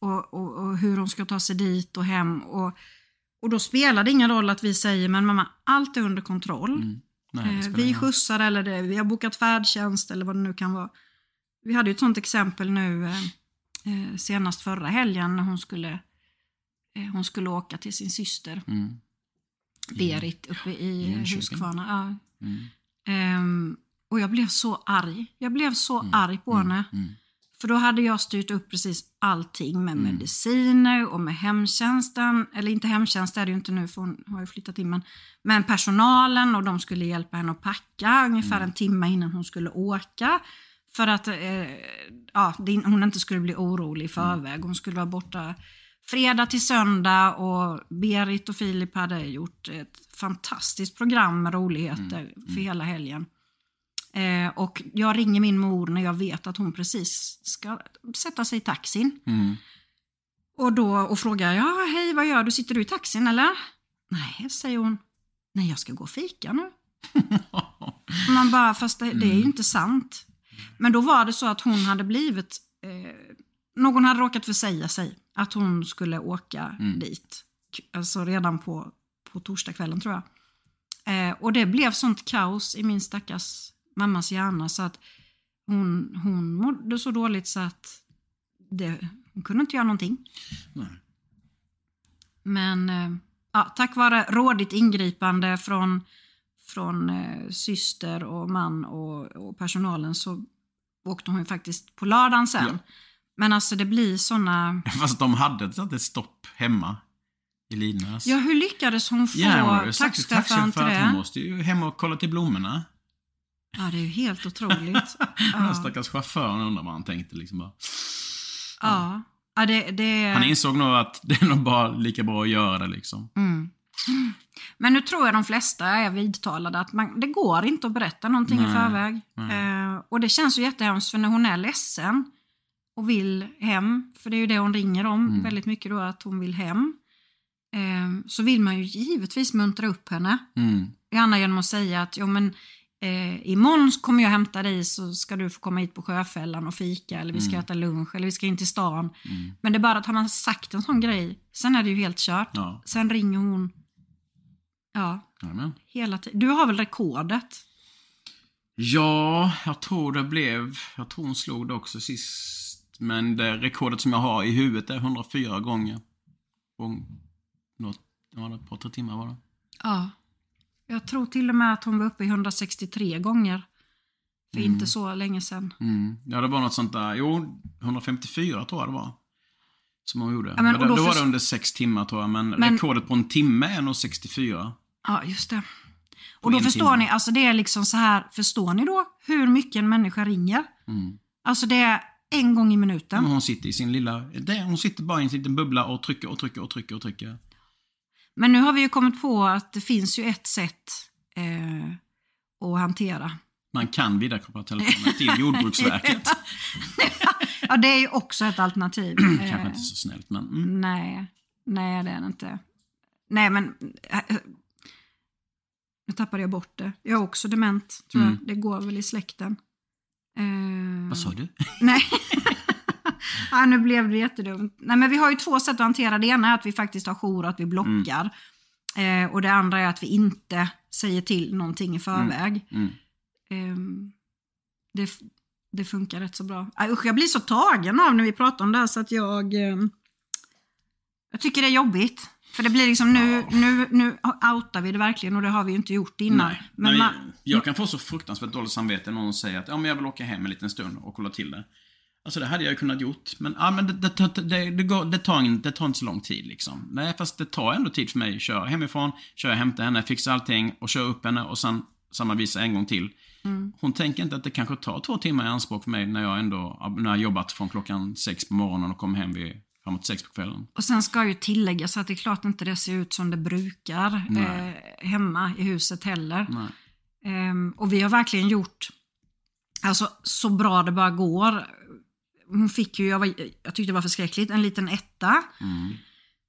Och, och, och hur hon ska ta sig dit och hem. Och, och då spelar det ingen roll att vi säger, men mamma, allt är under kontroll. Mm. Nej, det Eh, spelar Vi ingen roll. skjutsar eller det, vi har bokat färdtjänst eller vad det nu kan vara. Vi hade ju ett sånt exempel nu eh, eh, senast förra helgen när hon skulle, eh, hon skulle åka till sin syster Mm. Berit uppe i Jönköping. Huskvarna. Ja. Mm. Ehm, och jag blev så arg. Jag blev så arg på henne. För då hade jag styrt upp precis allting med mediciner och med hemtjänsten. Eller inte hemtjänst är det ju inte nu för hon har ju flyttat in. Men, men personalen och de skulle hjälpa henne att packa ungefär en timme innan hon skulle åka. För att eh, ja, det- hon inte skulle bli orolig i förväg. Hon skulle vara borta fredag till söndag och Berit och Filip hade gjort ett fantastiskt program med roligheter för hela helgen. Eh, och jag ringer min mor när jag vet att hon precis ska sätta sig i taxin. Mm. Och, då, och frågar, ja hej vad gör du, sitter du i taxin eller? Nej, säger hon. Nej, jag ska gå och fika nu. Och Man bara, fast det, det är ju inte sant. Men då var det så att hon hade blivit, eh, någon hade råkat försäga sig att hon skulle åka dit. K- Alltså redan på, på torsdagskvällen tror jag. Eh, och det blev sånt kaos i min stackars mammas hjärna så att hon, hon mådde så dåligt så att det, hon kunde inte göra någonting. Nej. Men eh, ja, tack vare rådigt ingripande från, från eh, syster och man och, och personalen så åkte hon ju faktiskt på lördagen sen. Ja. Men alltså det blir såna... Fast de hade ett sånt ett stopp hemma i Lidnäs. Ja, hur lyckades hon få Ja, hon var ju faktiskt taxichauffören tacksam till för att hon det? måste ju hem och kolla till blommorna. Ja, det är ju helt otroligt. Den här stackars chauffören undrar vad han tänkte liksom bara. ja. ja, det, det... Han insåg nog att det är nog bara lika bra att göra det liksom. Mm. Men nu tror jag de flesta är vidtalade att man, det går inte att berätta någonting i förväg. Eh, och det känns ju jättehemskt för när hon är ledsen och vill hem, för det är ju det hon ringer om Mm. väldigt mycket då, att hon vill hem. Eh, så vill man ju givetvis muntra upp henne. Mm. Gärna genom att säga att jo, men, eh, imorgon kommer jag hämta dig så ska du få komma hit på Sjöfällan och fika eller vi Mm. ska äta lunch eller vi ska in till stan. Men det är bara att har man sagt en sån grej, sen är det ju helt kört. Ja. Sen ringer hon ja, Jajamän. hela tiden. Du har väl rekordet? Ja, jag tror det blev... Jag tror hon slog det också sist. Men det rekordet som jag har i huvudet är 104 gånger. Gång... Något, ja, det var ett par, tre timmar var det. Ja. Jag tror till och med att hon var uppe i 163 gånger. För inte så länge sedan. Mm. Ja, det var något sånt där. Jo, 154 tror jag det var. Som hon gjorde. Ja, men men, och då, då då var för- det under sex timmar tror jag, men, Men- rekordet på en timme är nog 64. Ja, just det. Och då en förstår timme. ni, alltså det är liksom så här, förstår ni då hur mycket en människa ringer? Mm. Alltså det är en gång i minuten. Men hon sitter i sin lilla... Där, hon sitter bara i en liten bubbla och trycker och trycker och trycker och trycker. Men nu har vi ju kommit på att det finns ju ett sätt eh, att hantera. Man kan vidarekoppla telefonen till Jordbruksverket. Ja, det är ju också ett alternativ. Kanske Eh, inte så snällt, men... Mm. Nej, nej det är det inte. Nej men... eh, eh, Nu tappade jag bort det. Jag är också dement, tror jag. Det går väl i släkten. Eh, Vad sa du? Nej. ja, nu blev det jättedumt. Nej, men vi har ju två sätt att hantera det. ena är att vi faktiskt har jour och att vi blockar. Eh, och det andra är att vi inte säger till någonting i förväg. Mm. Ehm, det, f- det funkar rätt så bra. Aj, usch, jag blir så tagen av när vi pratar om det här så att jag... ehm, jag tycker det är jobbigt. För det blir liksom nu, nu, nu outar vi det verkligen och det har vi ju inte gjort innan. Nej, Men nej, man, jag kan få så fruktansvärt dåligt samvete när någon säger att ja, men jag vill åka hem en liten stund och kolla till det. Alltså det hade jag ju kunnat gjort, men, ja, men det, det, tar- det, det, går, det, tar en, det tar inte så lång tid liksom. Nej, fast det tar ändå tid för mig att köra hemifrån, köra och hämta henne, fixa allting och köra upp henne och sen samma visa en gång till. Mm. Hon tänker inte att det kanske tar två timmar i anspråk för mig när jag ändå när jag har jobbat från klockan sex på morgonen och kommer hem vid framåt sex på kvällen. Och sen ska ju tilläggas att det är klart inte det ser ut som det brukar eh, Nej. hemma i huset heller. Nej. Ehm, och vi har verkligen gjort alltså, så bra det bara går. Hon fick ju, jag, var, jag tyckte det var förskräckligt, en liten etta. Mm.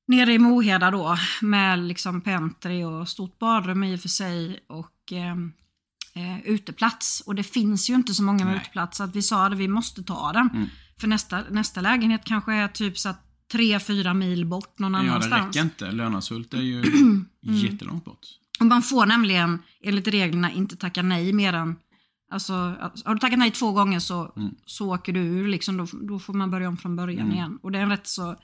Nere i Moheda då, med liksom pentry och stort badrum i och för sig. Och ehm, eh, uteplats. Och det finns ju inte så många med Nej. Mm. uteplats. Så att vi sa att vi måste ta den. För nästa, nästa lägenhet kanske är typ så att 3-4 mil bort någon Ja, annanstans. det räcker inte. Lönashult är ju jättelångt bort. Och man får nämligen enligt reglerna inte tacka nej mer än... Alltså, har du tackat nej två gånger så, Mm. så åker du ur. Liksom, då, då får man börja om från början igen. Och det är en rätt så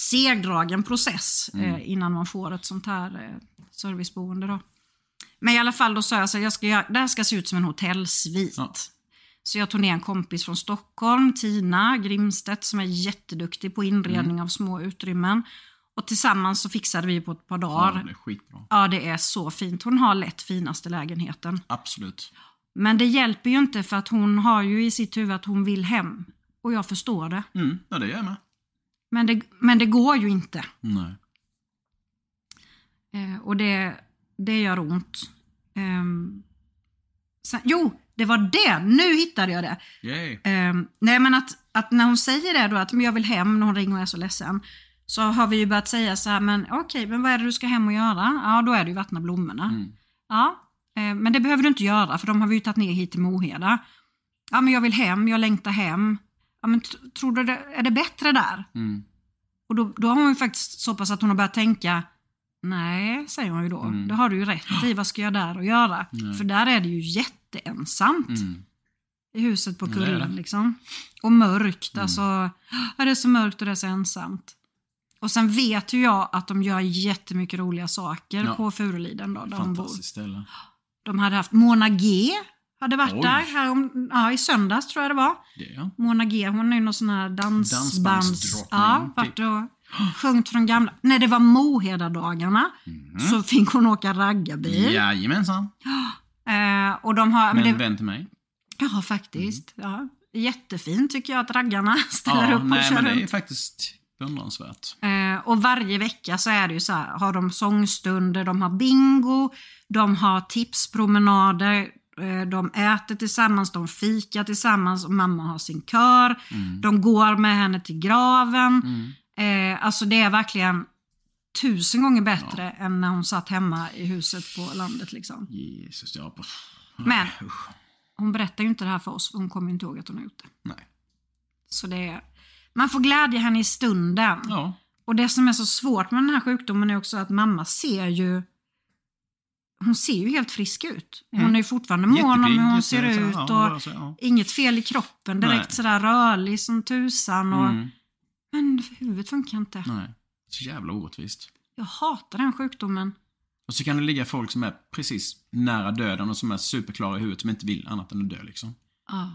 segdragen process Mm. eh, innan man får ett sånt här eh, serviceboende. Då. Men i alla fall, då sa jag så här, jag ska, göra- det här ska se ut som en hotellsvit. Ja. Så jag tog ner en kompis från Stockholm, Tina Grimstedt, som är jätteduktig på inredning av små utrymmen. Och tillsammans så fixade vi på ett par dagar. Ja, det är skitbra. Ja, det är så fint. Hon har lätt finaste lägenheten. Absolut. Men det hjälper ju inte för att hon har ju i sitt huvud att hon vill hem. Och jag förstår det. Mm, ja, det gör jag med. Men det, men det går ju inte. Nej. Eh, och det, det gör ont. Ehm, sen, jo, det var det! Nu hittade jag det. Yay. Ehm, nej men att, att när hon säger det då att men jag vill hem när hon ringer och är så ledsen. Så har vi ju börjat säga så här, men okej, men vad är det du ska hem och göra? Ja, då är det ju vattna blommorna. Ja, eh, men det behöver du inte göra för de har vi ju tagit ner hit till Moheda. Ja, men jag vill hem, jag längtar hem. Ja, men tr- tror du det, är det bättre där? Mm. Och då, då har hon ju faktiskt så pass att hon har börjat tänka, nej, säger hon ju då. Mm. Det har du ju rätt i, vad ska jag där och göra? För där är det ju jätteensamt Mm. i huset på det är kullen. det. Mm. Liksom. Och mörkt, alltså. Ja, det är så mörkt och det är så ensamt. Och sen vet ju jag att de gör jättemycket roliga saker Ja. på Furuliden då, där de bor. Fantastiskt ställe. De hade haft Mona G. Hade varit Oj. där här om, ja, i söndags tror jag det var. Det är Mona G, hon är ju någon sån här dansbands... Dansbandsdrottning, Ja, typ. vart och sjungit från gamla... När det var Mohedadagarna Mhm. så fick hon åka raggarbil. Jajamensan. Eh, och de har... Men det- en vän till mig. Ja, faktiskt. Ja. Jättefint tycker jag att raggarna ställer upp och nej, kör men det är runt. faktiskt beundransvärt. Eh, och varje vecka så är det ju så här, har de sångstunder, de har bingo, de har tipspromenader, Eh, De äter tillsammans, de fikar tillsammans och mamma har sin kör. Mm. De går med henne till graven. Eh, alltså det är verkligen tusen gånger bättre än när hon satt hemma i huset på landet. Liksom. Jesus, ja. på- Men Usch. hon berättar ju inte det här för oss, för hon kommer ju inte ihåg att hon har gjort det. Nej. Så det är, man får glädja henne i stunden. Ja. Och det som är så svårt med den här sjukdomen är också att mamma ser ju hon ser ju helt frisk ut. Hon är ju fortfarande mån om Mm. Jättepigg, hur hon jätte- ser så- ut. ja, Och alltså, ja. Inget fel i kroppen, direkt Nej. sådär rörlig som tusan. Och, Mm. Men huvudet funkar inte. Nej. Så jävla orättvist. Jag hatar den sjukdomen. Och så kan det ligga folk som är precis nära döden och som är superklara i huvudet som inte vill annat än att dö liksom. Ja,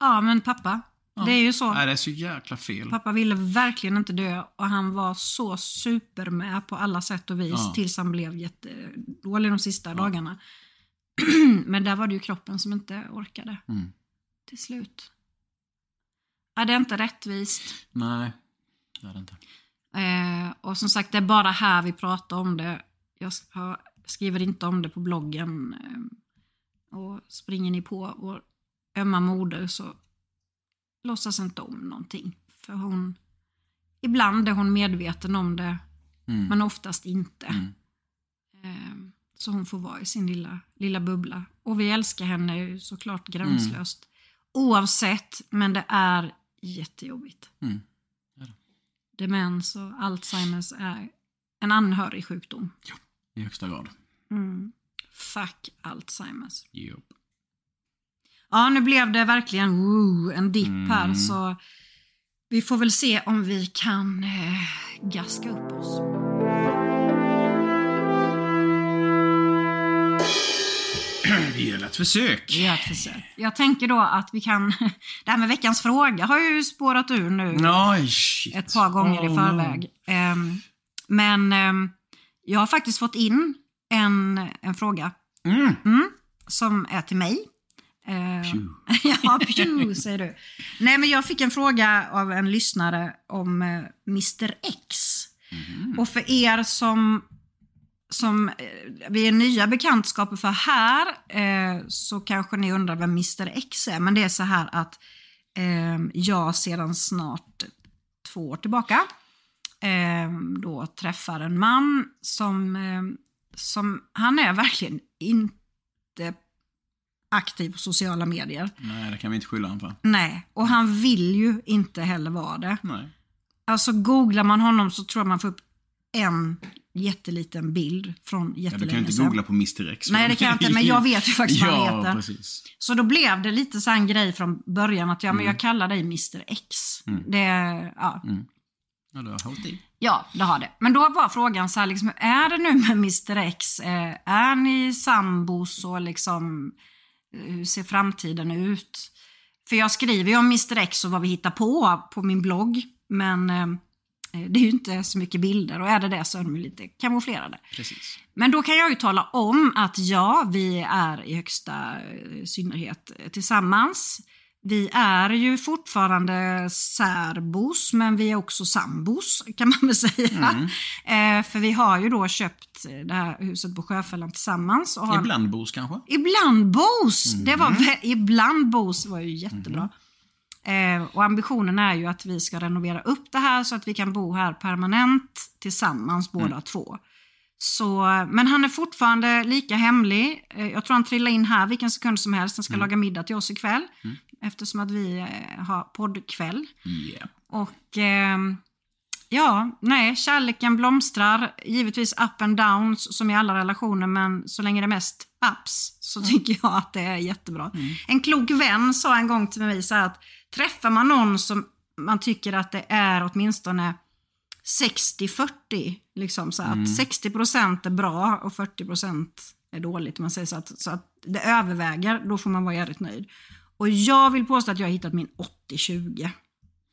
ja men pappa. Ja. Det är ju så. Nej, det är så jäkla fel. Pappa ville verkligen inte dö och han var så super med på alla sätt och vis Ja. tills han blev jättedålig de sista dagarna. Men där var det ju kroppen som inte orkade Mm. till slut. Ja, det är inte rättvist. Nej, det är det inte. Eh, och som sagt, det är bara här vi pratar om det. Jag ska- skriver inte om det på bloggen. Eh, och springer ni på vår ömma moder så låtsas inte om någonting. För hon, ibland är hon medveten om det, Mm. men oftast inte. Mm. Eh, så hon får vara i sin lilla, lilla bubbla. Och vi älskar henne ju såklart Mm. gränslöst. Oavsett, men det är jättejobbigt. Mm. demens och Alzheimers är en anhörig sjukdom. I högsta grad. Fuck Alzheimers. Yep. Ja, nu blev det verkligen woo, en dipp här så vi får väl se om vi kan eh, gaska upp oss. Vi gör ett försök. Vi gör ett försök. Jag tänker då att vi kan... Det här med veckans fråga har ju spårat ur nu. Nej, shit. ett par gånger Oh, i no. förväg. Ehm, men ehm, jag har faktiskt fått in en, en fråga Mm. Mm, som är till mig. Ehm, Pju. ja, pju säger du. Nej, men jag fick en fråga av en lyssnare om eh, Mr X. Och för er som som eh, vi är nya bekantskaper för här eh, så kanske ni undrar vem Mr X är. Men det är så här att eh, jag sedan snart två år tillbaka eh, då träffar en man som, eh, som han är verkligen inte aktiv på sociala medier. Nej, det kan vi inte skylla honom för. Nej, och han vill ju inte heller vara det. Nej. Alltså googlar man honom så tror jag man får upp en jätteliten bild från Ja, du jättelänge kan ju inte sedan. googla på Mr X. Nej, det kan jag inte, men jag vet ju faktiskt vad han ja, heter. Precis. Så då blev det lite så här en grej från början att ja, men jag kallar dig Mr X. Det, ja. Ja, du har hållit i. ja, det har det. Men då var frågan så här, liksom, hur är det nu med Mr X? Eh, är ni sambos och liksom, eh, hur ser framtiden ut? För jag skriver ju om Mr X och vad vi hittar på på min blogg, men eh, det är ju inte så mycket bilder och är det det så är de ju lite kamouflerade. Precis. Men då kan jag ju tala om att ja, vi är i högsta eh, synnerhet eh, tillsammans. Vi är ju fortfarande särbos, men vi är också sambos kan man väl säga. Eh, för vi har ju då köpt eh, det här huset på Sjöfällan tillsammans. Och har en- Ibland bos kanske? Ibland Bos! Det var, vä- ibland Bos var ju jättebra. Eh, och ambitionen är ju att vi ska renovera upp det här så att vi kan bo här permanent tillsammans båda två. Så, men han är fortfarande lika hemlig. Eh, Jag tror han trillar in här vilken sekund som helst. Han ska laga middag till oss ikväll. Eftersom att vi eh, har poddkväll. Yeah. Och ehm, ja, nej, kärleken blomstrar. Givetvis up and downs som i alla relationer, men så länge det är mest ups så tycker jag att det är jättebra. En klok vän sa en gång till mig så här att träffar man någon som man tycker att det är åtminstone 60-40, liksom så att 60% är bra och 40% är dåligt. om Man säger så att, så att det överväger, då får man vara jävligt nöjd. Och jag vill påstå att jag har hittat min 80-20.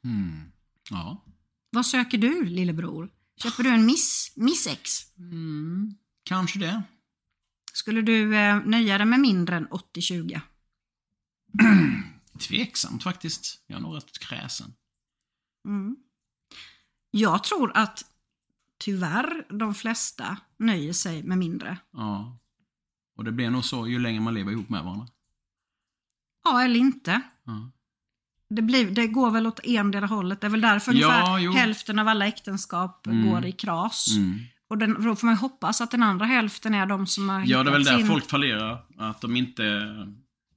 Mm. Ja. Vad söker du lillebror? Köper du en miss, miss X? Mm. Kanske det. Skulle du eh, nöja dig med mindre än 80-20? Tveksamt faktiskt. Jag är nog rätt kräsen. Mm. Jag tror att tyvärr de flesta nöjer sig med mindre. Ja. Och det blir nog så ju längre man lever ihop med varandra. Ja, eller inte. Ja. Det, blir, det går väl åt endera hållet. Det är väl därför ungefär jo. hälften av alla äktenskap går i kras. Mm. Och den, då får man ju hoppas att den andra hälften är de som har Ja, det är väl hittat där sin- folk fallerar. Att de inte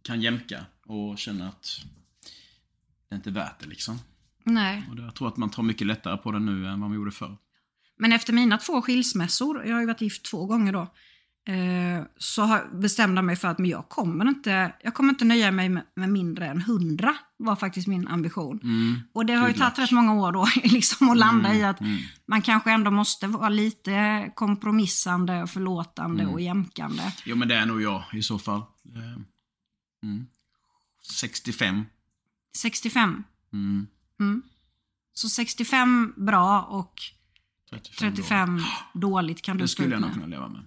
kan jämka och känner att det inte är värt det liksom. Nej. Och det- jag tror att man tar mycket lättare på det nu än vad man gjorde förr. Men efter mina två skilsmässor, jag har ju varit gift två gånger då, eh, så har- bestämde jag mig för att men jag, kommer inte, jag kommer inte nöja mig med, med mindre än 100, var faktiskt min ambition. Mm. Och det har ju Good luck. tagit rätt många år då, liksom att landa Mm, i att man kanske ändå måste vara lite kompromissande, och förlåtande Mm. och jämkande. Jo, men det är nog jag i så fall. Eh, Mm. 65. 65, Mm. så 65 bra och 35. då. 35 dåligt kan du Det stå skulle ut jag nog med. kunna leva med.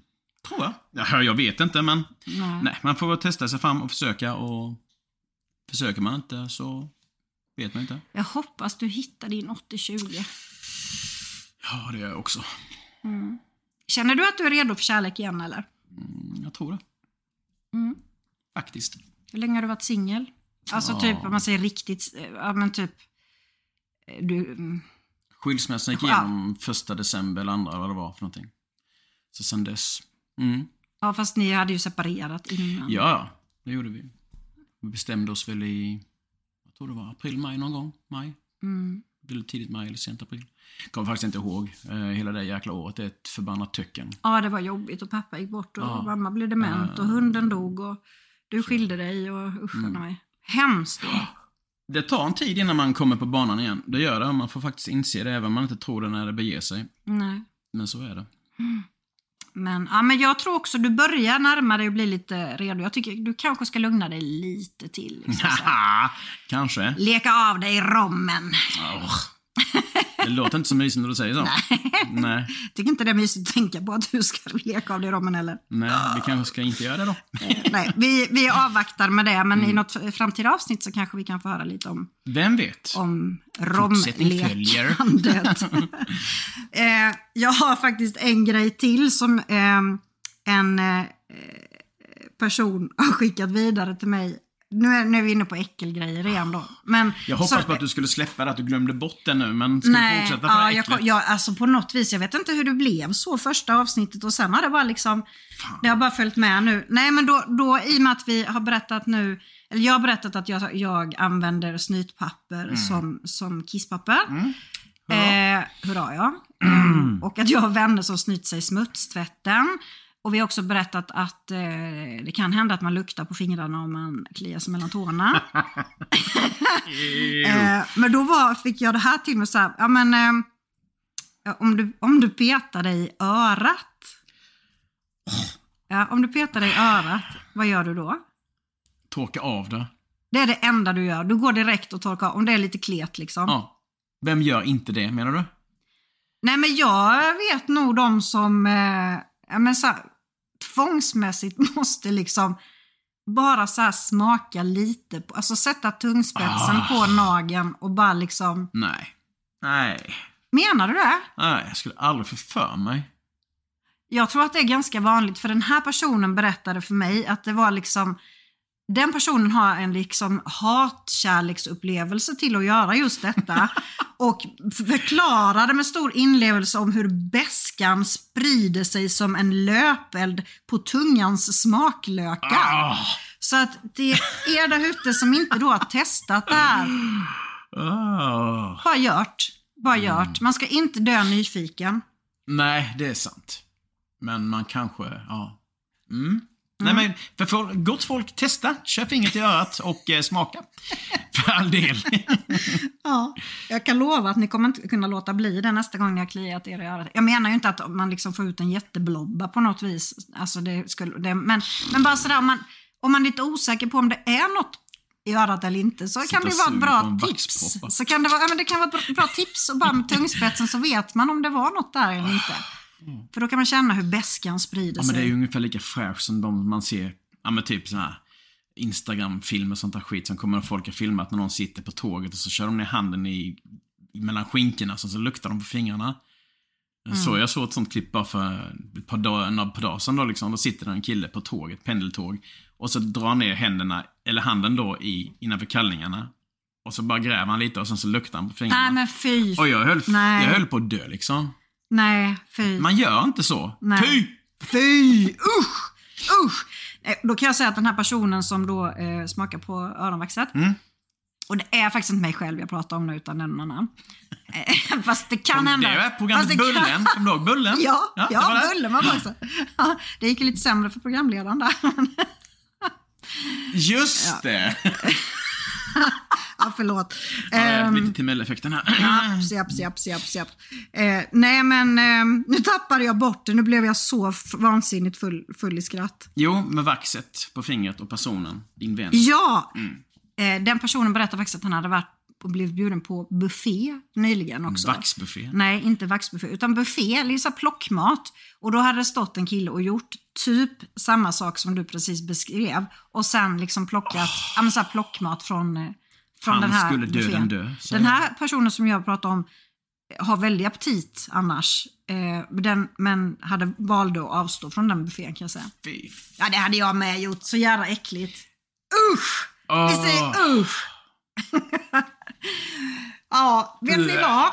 Tror jag. Ja, jag vet inte, men Nej. nej, man får väl testa sig fram och försöka. Och Försöker man inte så vet man inte. Jag hoppas du hittar din 80-20. Ja, det gör jag också. Känner du att du är redo för kärlek igen eller? Mm, Jag tror det. Mm. Faktiskt. Hur länge har du varit singel? Alltså Ja. typ, om man säger riktigt, eh, ja men typ, eh, du, mm, Skilsmässan gick Ja. igenom första december eller andra, vad det var för någonting. Så sen dess. Mm. ja fast ni hade ju separerat innan. Ja, ja, det gjorde vi. Vi bestämde oss väl i, jag tror det var april, maj någon gång. Maj. Mm. Det blev tidigt maj eller sent april. Kommer faktiskt inte ihåg. Eh, hela det jäkla året är ett förbannat töcken. Ja det var jobbigt och pappa gick bort och Ja. mamma blev dement och hunden dog och du skilde dig och Mm. usch och nej. Hemskt. Det tar en tid innan man kommer på banan igen. Det gör det. Man får faktiskt inse det även om man inte tror det när det beger sig. Nej. Men så är det. Men, ja, men jag tror också du börjar närma dig och bli lite redo. Jag tycker du kanske ska lugna dig lite till. Liksom, så här. Haha, Kanske. Leka av dig rommen. Åh. Det låter inte så mysigt när du säger så. Nej. Tycker inte det är mysigt att tänka på att du ska leka av dig rommen heller. Nej, vi kanske ska inte göra det då. Eh, Nej, vi, vi avvaktar med det, men Mm. i något f- framtida avsnitt så kanske vi kan få höra lite om, Vem vet? om Fortsättning följer. romlekandet. eh, jag har faktiskt en grej till som ehm, en eh, eh, person har skickat vidare till mig. Nu är, nu är vi inne på äckelgrejer igen då. Men, Jag hoppas så- på att du skulle släppa det, att du glömde bort det nu, men ska vi Nej, fortsätta på ja, det jag, äcklet? kom- jag, alltså på något vis, jag vet inte hur det blev så första avsnittet och sen har det bara liksom, det har bara följt med nu. Nej men då, då i och med att vi har berättat nu, eller jag har berättat att jag, jag använder snytpapper som, som kisspapper. Hurra. Eh, hurra ja. Ehm, och att jag har vänner som snyter sig i smutstvätten. Och vi har också berättat att eh, det kan hända att man luktar på fingrarna om man kliar sig mellan tårna. Mm. Eh, men då var, fick jag det här till mig så här, ja men eh, ja, om, du, om du petar dig i örat. Ja, om du petar dig i örat, vad gör du då? Torka av det. Det är det enda du gör. Du går direkt och torkar om det är lite klet liksom. Ja. Vem gör inte det, menar du? Nej men jag vet nog de som eh, ja, men så här, tvångsmässigt måste liksom bara så här smaka lite, på, alltså sätta tungspetsen Ah. på nageln och bara liksom, Nej. Nej. menar du det? Nej, jag skulle aldrig få för mig. Jag tror att det är ganska vanligt, för den här personen berättade för mig att det var liksom den personen har en liksom hatkärleksupplevelse till att göra just detta. Och förklarade med stor inlevelse om hur beskan sprider sig som en löpeld på tungans smaklökar. Ah! Så att det är er där ute som inte då har testat det här, Ah. bara gjort. Bara gjort. Man ska inte dö nyfiken. Nej, det är sant. Men man kanske, ja. Mm. Nej men, för, för gott folk, testa. Kör fingret i örat och eh, smaka. För all del. Ja, jag kan lova att ni kommer inte kunna låta bli det nästa gång ni har kliat er i örat. Jag menar ju inte att man liksom får ut en jätteblobba på något vis. Alltså det skulle, det, men, men bara sådär, om man, om man är lite osäker på om det är något i örat eller inte så Sitta kan det och vara suga ett på en bra tips. vaxproppa. Så kan det, vara, ja, men det kan vara ett bra tips och bara med tungspetsen så vet man om det var något där eller inte. För då kan man känna hur beskan sprider Mm. Ja, men det är sig. ju ungefär lika fräscht som de man ser, ja men typ såna här Instagram-filmer och sånt där skit som kommer och folk har filmat när någon sitter på tåget och så kör de ner handen i, mellan skinkorna så, så luktar de på fingrarna. Mm. Så jag såg ett sånt klipp bara för ett par dagar, några par dagar sedan då liksom. Då sitter det en kille på tåget, pendeltåg. Och så drar han ner händerna, eller handen då, i, innanför kallingarna. Och så bara gräver han lite och sen så luktar han på fingrarna. Nej men fy. Och jag höll, Nej. jag höll på att dö liksom. Nej, fy. Man gör inte så. Nej. Fy! Fy! Usch! Usch! Eh, Då kan jag säga att den här personen som då eh, smakar på öronvaxet. Mm. Och det är faktiskt inte mig själv jag pratar om nu utan någon annan. Eh, Fast det kan Det hända. är Fast programmet det kan- Bullen. Kommer du ihåg Bullen? Ja, ja, det var det. Bullen var också. Ja, det gick ju lite sämre för programledaren där. Just det! ja, förlåt. Ja, det är Ehm, lite Timell-effekten här. Japp, japp, japp, japp, japp. Eh, nej men ehm, nu tappade jag bort det. Nu blev jag så f- vansinnigt full, full i skratt. Jo, med vaxet på fingret och personen, din vän. Ja! Mm. Eh, den personen berättade faktiskt att han hade varit och blivit bjuden på buffé nyligen också. Vaxbuffé. Nej, inte vaxbuffé, utan buffé, eller så här plockmat. Och då hade det stått en kille och gjort typ samma sak som du precis beskrev. Och sen liksom plockat, ja men så här plockmat från, eh, från Han den här skulle döden buffén. dö, säger Den här personen som jag pratar om eh, har väldig aptit annars. Eh, den, men hade valde att avstå från den buffén kan jag säga. Fy Ja, det hade jag med gjort. Så jävla äckligt. Usch! Vi Åh. säger usch! ja, vet ni vad?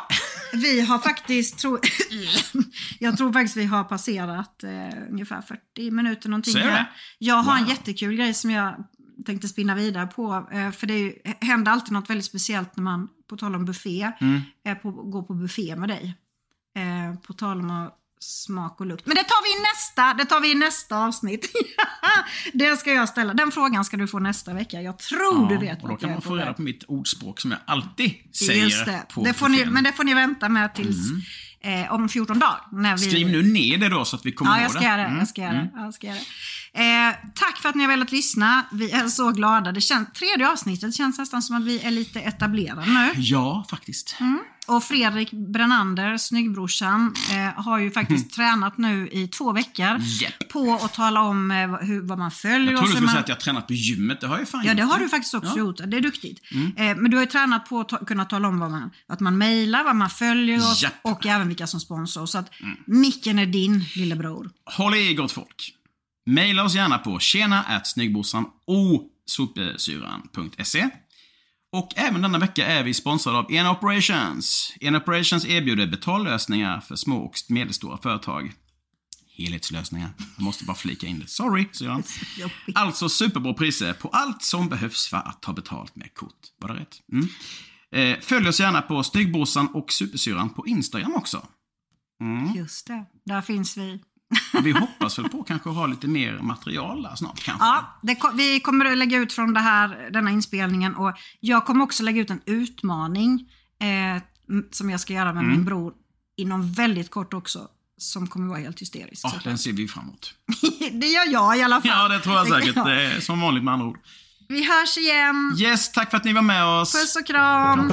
Vi har faktiskt, tro... jag tror faktiskt vi har passerat eh, ungefär 40 minuter någonting. Ser du det? här. Jag har en jättekul grej som jag tänkte spinna vidare på. Eh, för det är ju, händer alltid något väldigt speciellt när man, på tal om buffé, Mm. eh, på, går på buffé med dig. Eh, på tal om att smak och lukt. Men det tar vi i nästa, det tar vi i nästa avsnitt. det ska jag ställa. Den frågan ska du få nästa vecka. Jag tror du vet och då vart kan jag är man få på reda väg. på mitt ordspråk som jag alltid säger Just det. på det får ni, buffén. Men det får ni vänta med tills eh, om 14 dagar. När vi, Skriv nu ner det då så att vi kommer Ja, ihåg jag ska göra det. Jag ska göra det. Mm. Jag ska göra det. Eh, tack för att ni har velat lyssna. Vi är så glada. Det känns, tredje avsnittet känns nästan som att vi är lite etablerade nu. Ja, faktiskt. Mm, Och Fredrik Brennander, snyggbrorsan, eh, har ju faktiskt tränat nu i två veckor Mhm. Japp. på att tala om eh, vad- hur, vad man följer och Jag trodde du så skulle man- säga att jag har tränat på gymmet. Det har jag Mm. fan Ja, det gjort. har du faktiskt också gjort. Det är duktigt. Eh, men du har ju tränat på att ta, kunna tala om vad man, att man mejlar, vad man följer oss Japp. Mm. och även vilka som sponsrar oss. Så att micken är din, lillebror. Håll i er gott folk. Maila oss gärna på tjena at snyggbrorsan och sopsyran.se. Och även denna vecka är vi sponsrade av Ena Operations. Ena Operations erbjuder betallösningar för små och medelstora företag. Helhetslösningar. Jag måste bara flika in det. Sorry, Syran. Alltså superbra priser på allt som behövs för att ta betalt med kort. Var det rätt? Mm. Eh, följ oss gärna på Snyggbrorsan och Supersyran på Instagram också. Mm. Just det. Där finns vi. Vi hoppas väl på kanske att ha lite mer material där snart kanske. Ja, det, ko- vi kommer att lägga ut från det här, denna inspelningen och jag kommer också lägga ut en utmaning eh, m- som jag ska göra med Mm. min bror inom väldigt kort också. Som kommer vara helt hysterisk. Ja, såklart. den ser vi fram emot. det gör jag i alla fall. Ja, det tror jag säkert. Ja. Det är som vanligt med andra ord. Vi hörs igen. Yes, tack för att ni var med oss. Puss och kram.